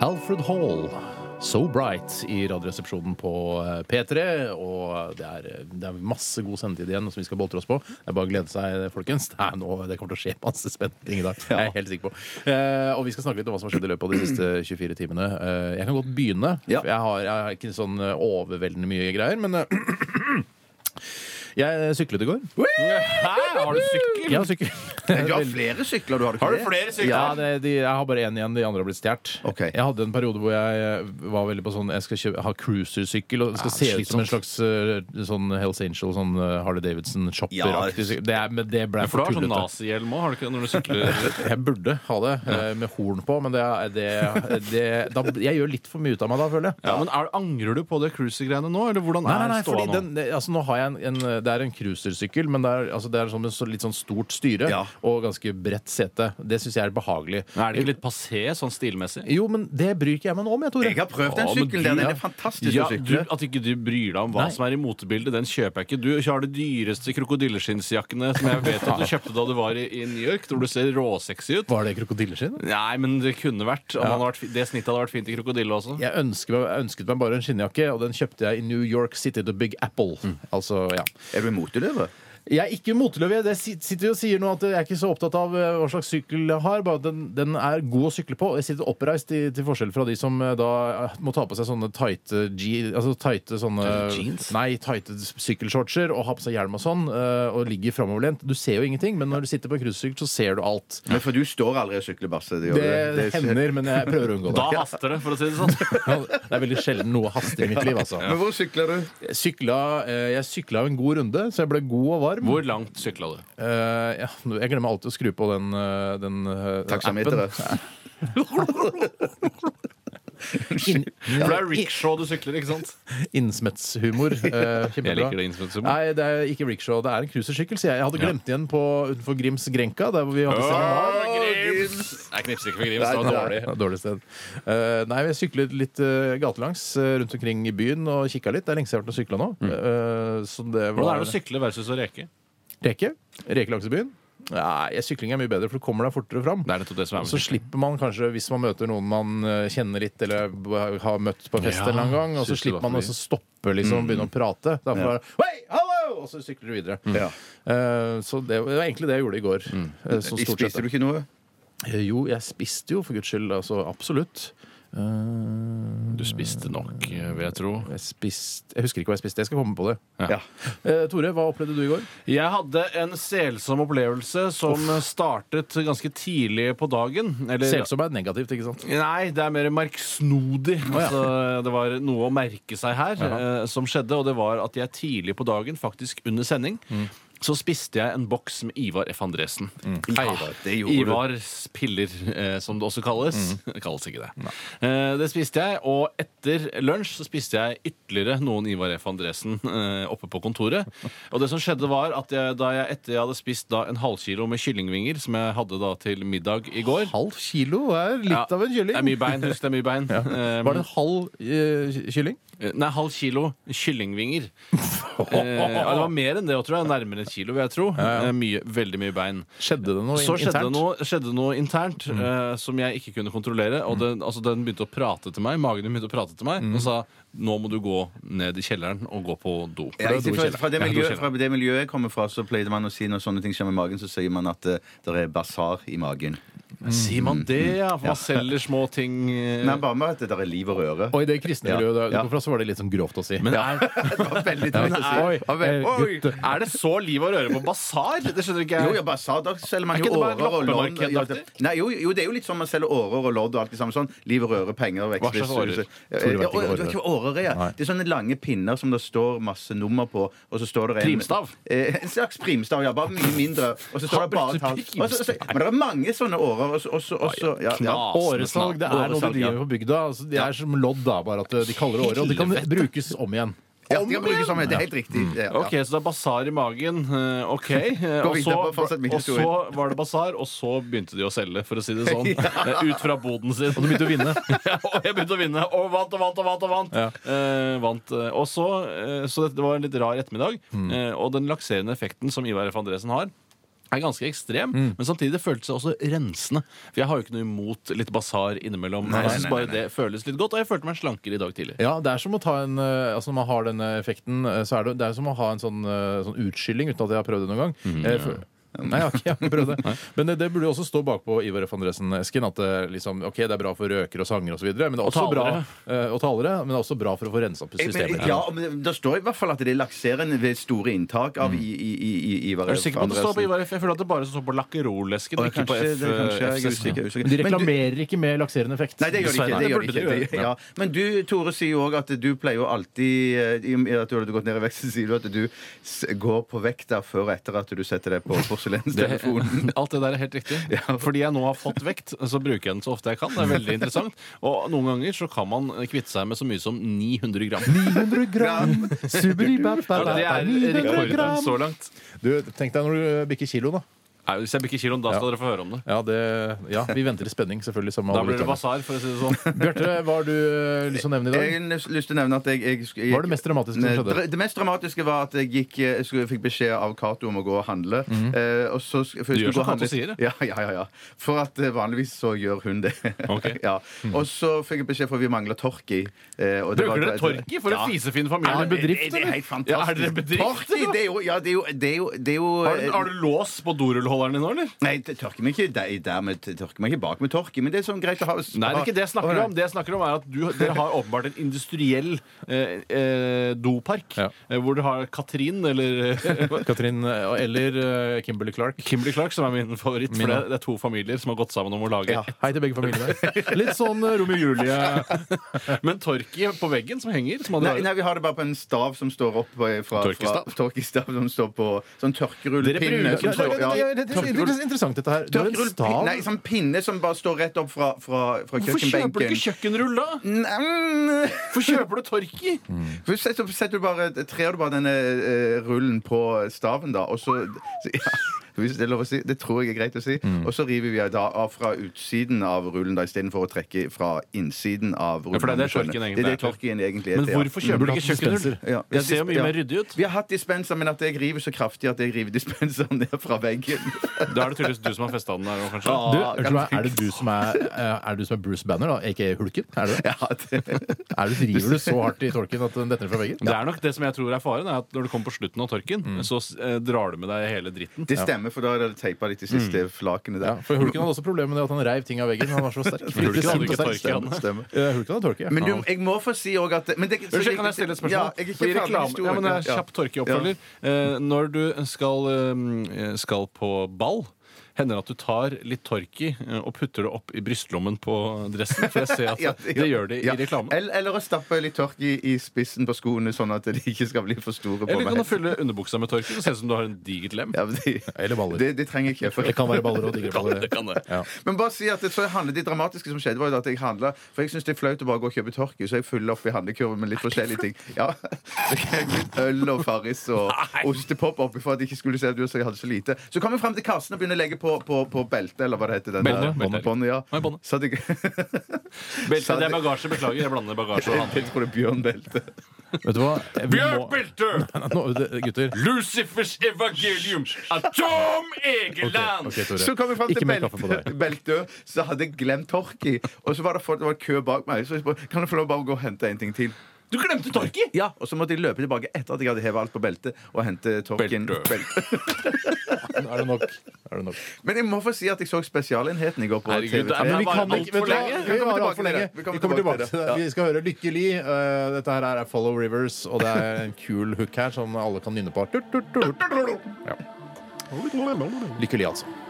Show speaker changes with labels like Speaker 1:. Speaker 1: Alfred Hall. So Bright i Radioresepsjonen på eh, P3. Og det er, det er masse god sendetid igjen som vi skal boltre oss på. Det er bare å glede seg, folkens. Det, er nå, det kommer til å skje masse spennende ting i dag. Jeg er helt sikker på. Eh, og vi skal snakke litt om hva som har skjedd i løpet av de siste 24 timene. Eh, jeg kan godt begynne.
Speaker 2: Ja.
Speaker 1: for Jeg, har, jeg har ikke sånn eh, overveldende mye greier, men eh, jeg syklet i går.
Speaker 3: har du sykkel?
Speaker 1: Jeg har syklet.
Speaker 2: Du har flere sykler, du har ikke
Speaker 3: Har du
Speaker 2: det?
Speaker 3: flere sykler?
Speaker 1: Ja, det, de, jeg har bare én igjen. De andre har blitt stjålet.
Speaker 2: Ok.
Speaker 1: Jeg hadde en periode hvor jeg eh, var veldig på sånn Jeg skal kjøpe, ha cruisersykkel og det skal
Speaker 2: Ja,
Speaker 1: se ut som en slags eh, sånn Hells Angel, sånn eh, Harley Davidson-shopperaktig
Speaker 2: Ja.
Speaker 1: sykkel. Det, er- men det ble for
Speaker 3: For du har sånn
Speaker 1: tullete.
Speaker 3: nazihjelm òg, har du ikke det, når du sykler?
Speaker 1: Jeg burde ha det eh, med horn på, men det, er- det, det da, Jeg gjør litt for mye ut av meg da, føler jeg.
Speaker 3: Ja, men er, Angrer du på det cruiser-greiene nå, eller hvordan
Speaker 1: Nei, nei, nei,
Speaker 3: er ståa
Speaker 1: fordi
Speaker 3: nå?
Speaker 1: den, altså, nå har jeg en, en, det er en cruisersykkel, men det er, altså, det er som en så, litt sånn stort styre
Speaker 2: Ja.
Speaker 1: og ganske bredt sete. Det syns jeg er behagelig.
Speaker 3: Men Er det ikke litt passé sånn stilmessig?
Speaker 1: Jo, men det bryr ikke jeg meg noe om, jeg, Tore.
Speaker 2: Jeg har prøvd den
Speaker 3: Ja, men
Speaker 2: sykkelen der.
Speaker 3: du-
Speaker 2: Den
Speaker 3: ja.
Speaker 2: er fantastisk
Speaker 3: Ja,
Speaker 2: å
Speaker 3: du,
Speaker 2: sykle.
Speaker 3: at ikke du bryr deg om hva
Speaker 1: Nei.
Speaker 3: som er i motebildet, den kjøper jeg ikke. Du har de dyreste krokodilleskinnsjakkene som jeg vet at du kjøpte da du var i, i New York, hvor du ser råsexy ut.
Speaker 1: Var det krokodilleskinn?
Speaker 3: Nei, men det kunne vært. Om han hadde vært fi- det snittet hadde vært fint i krokodille også.
Speaker 1: Jeg, ønsker meg, jeg ønsket meg bare en skinnjakke, og den kjøpte jeg i New York City The Big Apple. Altså, ja.
Speaker 2: Er du moteløver?
Speaker 1: Jeg er ikke moteløv. Jeg Det si- sitter jo og sier nå at jeg er ikke så opptatt av eh, hva slags sykkel jeg har, bare at den, den er god å sykle på. Jeg sitter oppreist i, til forskjell fra de som eh, da eh, må ta på seg sånne tighte je- altså tighte sånne
Speaker 3: jeans?
Speaker 1: Nei, tighte s- sykkelshortser og har på seg hjelm og sånn, eh, og ligger framoverlent. Du ser jo ingenting, men når du sitter på cruisesykkel, så ser du alt.
Speaker 2: Men for du står aldri og sykler, Basse. Det, gjør
Speaker 1: Det
Speaker 2: du. Det er-
Speaker 1: hender, men jeg prøver å unngå
Speaker 3: Da
Speaker 1: det.
Speaker 3: haster det, for å si det sånn.
Speaker 1: Det er veldig sjelden noe haster i mitt liv, altså.
Speaker 2: Men hvor sykler du?
Speaker 1: Jeg sykla, eh, jeg sykla en god runde, så jeg ble god og varm.
Speaker 3: Hvor langt sykla du?
Speaker 1: Eh, ja, nå- jeg glemmer alltid å skru på den, eh, den eh,
Speaker 2: Taksameteret.
Speaker 1: appen. Inn,
Speaker 3: For det er rickshaw du sykler, ikke sant?
Speaker 1: Innsmettshumor. eh, kjempebra.
Speaker 3: Jeg liker det innsmettshumor.
Speaker 1: Nei, det er ikke rickshaw. Det er en cruisersykkel, sier jeg. Jeg hadde glemt igjen på utenfor Grims Grenka. Der hvor vi hadde seminar.
Speaker 3: Grims! Jeg knipser ikke for Grims, det var dårlig.
Speaker 1: Det var et Dårlig sted. Eh, nei, jeg syklet litt eh, gatelangs eh, rundt omkring i byen og kikka litt. Det er lenge siden jeg har vært og sykla nå. Eh, så det
Speaker 3: Mm. Hvordan
Speaker 1: var
Speaker 3: er det å sykle versus å reke?
Speaker 1: Reke. Reke langs i byen. Nei, sykling er mye bedre, for du kommer deg fortere fram.
Speaker 3: Det er nettopp det som er
Speaker 1: Og
Speaker 3: med
Speaker 1: Så
Speaker 3: sykling.
Speaker 1: slipper man kanskje, hvis man møter noen man eh, kjenner litt, eller b- har møtt på en fest
Speaker 3: Ja,
Speaker 1: en eller annen gang, og så
Speaker 3: synes det var
Speaker 1: slipper man
Speaker 3: fordi- Mm.
Speaker 1: også stoppe, liksom, begynne å prate. Da får man Hei, hallo! Og så sykler du videre.
Speaker 3: Mm.
Speaker 2: Ja.
Speaker 1: Eh, så det, det var egentlig det jeg gjorde i går. eh, så stort sett.
Speaker 2: Spiser du ikke noe?
Speaker 1: Eh, Jo, jeg spiste jo, for guds skyld. Altså, absolutt. Eh,
Speaker 3: Du spiste nok, vil jeg tro.
Speaker 1: jeg spiste Jeg husker ikke hva jeg spiste. Jeg skal komme på det.
Speaker 2: Ja.
Speaker 1: Eh, Tore, hva opplevde du i går?
Speaker 3: Jeg hadde en selsom opplevelse som startet ganske tidlig på dagen. Eller,
Speaker 1: Selsom er negativt, ikke
Speaker 3: Mm.
Speaker 1: sant?
Speaker 3: Nei, det er mer merksnodig. Altså, det var noe å merke seg her eh, som skjedde, og det var at jeg tidlig på dagen, faktisk under sending, så spiste jeg en boks med Ivar F. Andresen.
Speaker 2: Ivar, det gjorde du.
Speaker 3: Ivars piller, eh, som det også kalles.
Speaker 1: Mm.
Speaker 3: Det kalles ikke det. Eh, det spiste jeg, og etter lunsj så spiste jeg ytterligere noen Ivar F. Andresen eh, oppe på kontoret. Og det som skjedde, var at jeg, da jeg etter jeg hadde spist da, en halvkilo med kyllingvinger, som jeg hadde da til middag i går
Speaker 1: Halv kilo er litt
Speaker 3: Ja,
Speaker 1: av en kylling.
Speaker 3: Det er mye bein. husk det er mye bein. Eh,
Speaker 1: Var det en halv eh, kylling?
Speaker 3: Nei, halv kilo kyllingvinger. Eh, ja, det var mer enn det, tror jeg. Nærmere et kilo, vil jeg tro. Eh, Mye, veldig mye bein.
Speaker 1: Skjedde det noe
Speaker 3: Så
Speaker 1: in-
Speaker 3: skjedde
Speaker 1: internt?
Speaker 3: det noe, skjedde noe internt
Speaker 2: Mm.
Speaker 3: eh, som jeg ikke kunne kontrollere. Og den, altså, den begynte å prate til meg, magen din begynte å prate til meg
Speaker 2: Mm.
Speaker 3: og sa nå må du gå ned i kjelleren og gå på do.
Speaker 2: Ja, jeg
Speaker 3: For det er do i
Speaker 2: sier- fra, fra, det
Speaker 3: kjelleren. Ja, do i
Speaker 2: miljøet,
Speaker 3: kjelleren.
Speaker 2: fra det miljøet jeg kommer fra, så pleide man å si når sånne ting skjer med magen, så sier man at eh, det er basar i magen.
Speaker 3: Sier man det, ja? For man selger små ting eh,
Speaker 2: Mm. Nei, bare med at det er liv og røre.
Speaker 1: Og i det kristne
Speaker 2: Ja.
Speaker 1: miljøet der du
Speaker 2: Ja.
Speaker 1: kom fra, så var det litt sånn grovt å si.
Speaker 3: Men er,
Speaker 2: Det var veldig
Speaker 1: Ja, men
Speaker 2: trist å si.
Speaker 1: er-
Speaker 2: Det var veldig-
Speaker 1: eh,
Speaker 2: Oi!
Speaker 1: gutt-
Speaker 3: er det så liv og røre på basar? Det skjønner ikke
Speaker 2: Jo,
Speaker 3: jeg.
Speaker 2: ja, basar, da selger man
Speaker 3: Er
Speaker 2: jo
Speaker 3: ikke det bare
Speaker 2: årer og lodd.
Speaker 3: loppemarked,
Speaker 2: Ja,
Speaker 3: da?
Speaker 2: det- Nei, jo, jo, det er jo litt sånn man selger årer og lodd og alt det samme. Sånn liv og røre, penger og
Speaker 3: Hva slags
Speaker 1: Tror
Speaker 2: vekselhus.
Speaker 3: årer?
Speaker 1: du
Speaker 2: Ja,
Speaker 1: vet ikke
Speaker 2: å,
Speaker 1: årer.
Speaker 2: det er ikke årer, ja.
Speaker 1: Nei.
Speaker 2: Det er sånne lange pinner som det står masse nummer på, og så står det en
Speaker 3: Primstav?
Speaker 2: Eh, En slags primstav, ja. Bare mye mindre. Og så står det bare tall. Og så- så- Men det er mange sånne årer, og så- og så og så- ja, ja.
Speaker 1: Åresalg det er noe de
Speaker 2: Åresalg, ja.
Speaker 1: driver på bygda. Altså, det er som lodd, da, bare at eh, de kaller det åre. Og det kan brukes om igjen.
Speaker 2: Ja, de kan bruke som Det er helt riktig. Ja, ja.
Speaker 3: Ok, så det er basar i magen. eh, Ok. eh,
Speaker 2: Gå
Speaker 3: Og så,
Speaker 2: videre på fortsett min
Speaker 3: og så
Speaker 2: historie.
Speaker 3: var det basar, og så begynte de å selge, for å si det sånn. Eh, Ut fra boden sin.
Speaker 1: Og du begynte å vinne.
Speaker 3: Ja, og jeg begynte å vinne. Og vant og vant og vant. og vant,
Speaker 1: Ja.
Speaker 3: eh, vant. eh, Og så,
Speaker 2: Mm.
Speaker 3: eh, så det, det var en litt rar ettermiddag. Eh, og den lakserende effekten som Ivar F. Andresen har er ganske
Speaker 2: Mm.
Speaker 3: ekstrem, men samtidig det føltes også rensende. For jeg har jo ikke noe imot litt basar innimellom. jeg synes
Speaker 2: nei,
Speaker 3: bare
Speaker 2: nei,
Speaker 3: det føles litt godt, og jeg følte meg slankere i dag tidlig.
Speaker 1: Ja, det er som å ta en eh, Altså når man har denne effekten, eh, så er det, det er som å ha en sånn, eh, sånn utskylling uten at jeg har prøvd det noen gang. Eh, for- Nei, jeg har ikke jeg har ikke prøvd det. Men eh, det, det burde jo også stå bakpå Ivar F. Andresen-esken at det, liksom, ok, det er bra for røkere og sangere osv. Men det er også
Speaker 3: Og talere.
Speaker 1: bra eh, og talere, men det er også bra for å få rensa opp i
Speaker 2: Men,
Speaker 1: systemet.
Speaker 2: ja, men Det står i hvert fall at det er lakserende ved store inntak av i, i, i, i, Ivar
Speaker 3: Er du sikker på at det står
Speaker 2: Andresen.
Speaker 3: på Ivar F? Jeg føler at det bare står på lakkerolesken,
Speaker 2: Og
Speaker 3: ikke på
Speaker 2: kanskje-
Speaker 3: F.
Speaker 2: det er kanskje- jeg er
Speaker 3: F16.
Speaker 2: usikker, usikker.
Speaker 1: De
Speaker 2: Men du-
Speaker 1: reklamerer ikke med lakserende effekt.
Speaker 2: Nei, det gjør de ikke.
Speaker 1: Dessverre.
Speaker 2: Det gjør de
Speaker 1: burde
Speaker 2: ikke. Det, ja. Men du, Tore, sier jo òg at du pleier jo alltid eh, I og med at du hadde gått ned i vekst, så sier du at du s- går på vekta før og etter at du setter deg på porselenstelefonen.
Speaker 3: Alt det der er helt riktig. Fordi jeg nå har fått vekt, så bruker jeg den så ofte jeg kan. Det er veldig interessant. Og noen ganger så kan man kvitte seg med så mye som 900 gram.
Speaker 1: 900 gram!
Speaker 3: Ja, det
Speaker 1: Subidi-ba-ba-ba,
Speaker 3: er
Speaker 1: 900
Speaker 3: rekorden
Speaker 1: gram!
Speaker 3: så langt.
Speaker 1: Du, tenk deg når du eh, bikker kilo, da.
Speaker 3: Nei, Hvis jeg bikker kiloen, da skal dere få høre om det.
Speaker 1: Ja, det, ja, vi venter i spenning, selvfølgelig. som
Speaker 3: Da
Speaker 1: alle
Speaker 3: blir
Speaker 1: lytterne.
Speaker 3: det basar, for å si det sånn.
Speaker 1: Bjarte, hva har du eh, lyst til å nevne i dag?
Speaker 2: Jeg har lyst lyst til å nevne at jeg, jeg, jeg
Speaker 1: Hva er det mest dramatiske som skjedde?
Speaker 2: Nei, Det mest dramatiske var at jeg gikk, eh, skulle, fikk beskjed av Cato om å gå og handle. Eh, og så, sk- for jeg skulle gå
Speaker 3: Du gjør
Speaker 2: og
Speaker 3: som Cato
Speaker 2: handle-
Speaker 3: sier det.
Speaker 2: Ja, ja, ja, ja. For at eh, vanligvis så gjør hun det.
Speaker 3: Ok.
Speaker 2: ja. Og så fikk jeg beskjed for vi mangler torki. Eh, og det var-
Speaker 3: Bruker dere torki for en
Speaker 1: Er
Speaker 3: fisefin familie?
Speaker 1: det en bedrift,
Speaker 3: Er det helt
Speaker 2: fantastisk.
Speaker 3: Ja, er dere en bedrift?
Speaker 2: Torki, det er jo, ja, det er jo, det er jo, det er jo eh,
Speaker 3: Har du, har du lås på dorullholderen din nå, eller?
Speaker 2: Nei, det tørker meg ikke, der, der med, tørker meg ikke bak med torki, men det er sånn greit å ha
Speaker 3: Nei, det er ikke det jeg snakker
Speaker 2: Å, nei.
Speaker 3: om. Det jeg snakker om er at du, Dere har åpenbart en industriell eh, eh, dopark
Speaker 1: Ja.
Speaker 3: eh, hvor du har Katrin, eller
Speaker 1: Katrin eh, eller eh, Kimberly Clark.
Speaker 3: Kimberly Clark, som er min favoritt.
Speaker 1: Min
Speaker 3: For det,
Speaker 1: også.
Speaker 3: det er to familier som har gått sammen om å lage
Speaker 1: Ja, Hei til begge familiene. Litt sånn eh, Romeo og Julie.
Speaker 3: Men torki på veggen som henger som
Speaker 2: Nei,
Speaker 3: hadde-
Speaker 2: nei, vi har det bare på en stav som står opp på, fra,
Speaker 3: Tørkestav?
Speaker 2: fra Tørkestav som står på sånn tørkerullpinne.
Speaker 3: Dere bruker
Speaker 2: som
Speaker 1: Det er-
Speaker 2: står-
Speaker 1: det
Speaker 2: ja,
Speaker 1: er- det er
Speaker 2: tørkerull-
Speaker 1: litt interessant, dette her. Du har en
Speaker 2: tørkerullpinne-
Speaker 1: stav.
Speaker 2: Nei, sånn pinne som bare står rett opp fra, fra, fra
Speaker 3: Hvorfor kjøper
Speaker 2: kjøkkenbenken.
Speaker 3: du ikke kjøkkenrull, da?
Speaker 2: Nei, mm.
Speaker 3: Hvorfor kjøper du torki?
Speaker 2: For setter, setter du bare, trer du bare denne eh, rullen på staven, da, og så så- ja, hvis det er lov å si. Det tror jeg er greit å si.
Speaker 3: Mm.
Speaker 2: Og så river vi da av fra utsiden av rullen da, istedenfor å trekke fra innsiden av rullen.
Speaker 3: for det er det
Speaker 2: om du skjønner.
Speaker 3: torken
Speaker 2: Det
Speaker 3: egentlig
Speaker 2: er det
Speaker 3: er til.
Speaker 2: torken egentlig er
Speaker 3: Men
Speaker 2: til, ja.
Speaker 3: hvorfor kjøper du ikke kjøkkenrull?
Speaker 1: Dispenser.
Speaker 2: Ja.
Speaker 3: Det ser jo mye
Speaker 2: Ja.
Speaker 3: mer ryddig ut.
Speaker 2: Vi har hatt dispenser, men at jeg river så kraftig at jeg river dispenseren ned fra veggen.
Speaker 3: Da er det tydeligvis du som har festa den der òg, kanskje.
Speaker 1: Du,
Speaker 2: Ah,
Speaker 1: unnskyld meg, er det du som er, eh, er, det du som er Bruce Banner, da? Aka Hulken? Er det det?
Speaker 2: Ja, det.
Speaker 1: Er du, driver du så hardt i tolken at den detter ned fra veggen?
Speaker 3: Det er nok det som jeg tror er faren, er at når du kommer på slutten av torken,
Speaker 1: Mm.
Speaker 3: så eh, drar du med deg hele dritten.
Speaker 2: det stemmer, for da er det teipa litt de
Speaker 3: Mm.
Speaker 2: siste flakene
Speaker 1: Ja,
Speaker 2: der.
Speaker 1: for Hulken hadde også problemer med det at han reiv ting av veggen. Han var så sterk.
Speaker 3: Hulken hadde
Speaker 1: Sint og
Speaker 3: ikke
Speaker 1: sterk.
Speaker 3: tork i hånden.
Speaker 2: Stemmer.
Speaker 1: Eh, Hulken hadde torke. Ja.
Speaker 2: Men du, jeg må få si òg at men det, så
Speaker 3: Unnskyld, kan jeg stille et spørsmål?
Speaker 2: Ja, jeg er ikke ferdig
Speaker 3: Fordi
Speaker 2: med
Speaker 3: reklame- ja, men det er
Speaker 2: historien.
Speaker 3: kjapp torkeoppfølger. Eh, når du skal, eh, skal på ball Hender det at du tar litt torki eh, og putter det opp i brystlommen på dressen? For jeg ser at
Speaker 2: Ja,
Speaker 3: det gjør det i
Speaker 2: ja.
Speaker 3: reklamen.
Speaker 2: Eller, eller å stappe litt tørk i, i spissen på skoene, sånn at de ikke skal bli for store på
Speaker 3: Eller kan du
Speaker 2: meg.
Speaker 3: fylle underbuksa med torki? Det ser ut som du har en digert lem.
Speaker 2: Ja, men de,
Speaker 1: Eller baller.
Speaker 2: Det, det trenger ikke jeg. For.
Speaker 1: Det kan være baller og digre baller.
Speaker 3: Det kan det.
Speaker 1: Ja.
Speaker 2: Men bare si at det, så handlet, det dramatiske som skjedde, var jo at jeg handla For jeg syns det er flaut å bare gå og kjøpe tørke, så jeg fyller opp i handlekurven med litt forskjellige ting. Ja, så jeg fikk Øl og Farris og ostepop oppi for at jeg ikke skulle se at du så jeg hadde så lite. Så kom jeg fram til kassen og begynner å legge på, på, på beltet, eller hva det heter. den
Speaker 3: Båndet,
Speaker 2: der-
Speaker 3: båndet.
Speaker 2: Båndet, ja.
Speaker 3: Nei, båndet.
Speaker 2: Så hadde jeg,
Speaker 3: Belte, det er bagasje. Beklager, jeg blander bagasje og handel.
Speaker 2: jeg tror det er bjørnbelte.
Speaker 1: Vet du hva? Vi
Speaker 3: Bjørn
Speaker 1: må-
Speaker 3: Belte!
Speaker 1: Nå, det- Gutter.
Speaker 3: Lucifers evangelium av Tom Egeland!
Speaker 1: Ok, Tore.
Speaker 2: Så kom jeg fram
Speaker 1: Ikke
Speaker 2: til
Speaker 1: mer kaffe på
Speaker 2: belte,
Speaker 1: deg.
Speaker 2: belte, så hadde jeg glemt torki. Og så var det folk det var kø bak meg. Så jeg spurte kan jeg få lov å bare gå og hente en ting til.
Speaker 3: Du glemte torki!
Speaker 2: Ja, Og så måtte jeg løpe tilbake etter at jeg hadde hevet alt på beltet. Og hente torken
Speaker 3: Belte.
Speaker 2: Belte.
Speaker 1: Er det nok? Er det nok?
Speaker 2: Men jeg må få si at jeg så Spesialenheten i går på
Speaker 3: Herregud, det er
Speaker 1: Men
Speaker 2: TV3.
Speaker 1: vi
Speaker 3: var
Speaker 1: kan
Speaker 3: alt
Speaker 1: ikke vet
Speaker 3: for
Speaker 1: du hva?
Speaker 3: lenge.
Speaker 1: Vi kommer tilbake til det.
Speaker 2: Vi kommer
Speaker 1: Vi kommer
Speaker 2: tilbake
Speaker 1: tilbake
Speaker 2: til
Speaker 1: til
Speaker 2: det.
Speaker 1: det. Vi skal høre Lykke Li. Eh, Dette her er Follow Rivers, og det er en kul hook her som alle kan nynne på. Lykke Li, altså.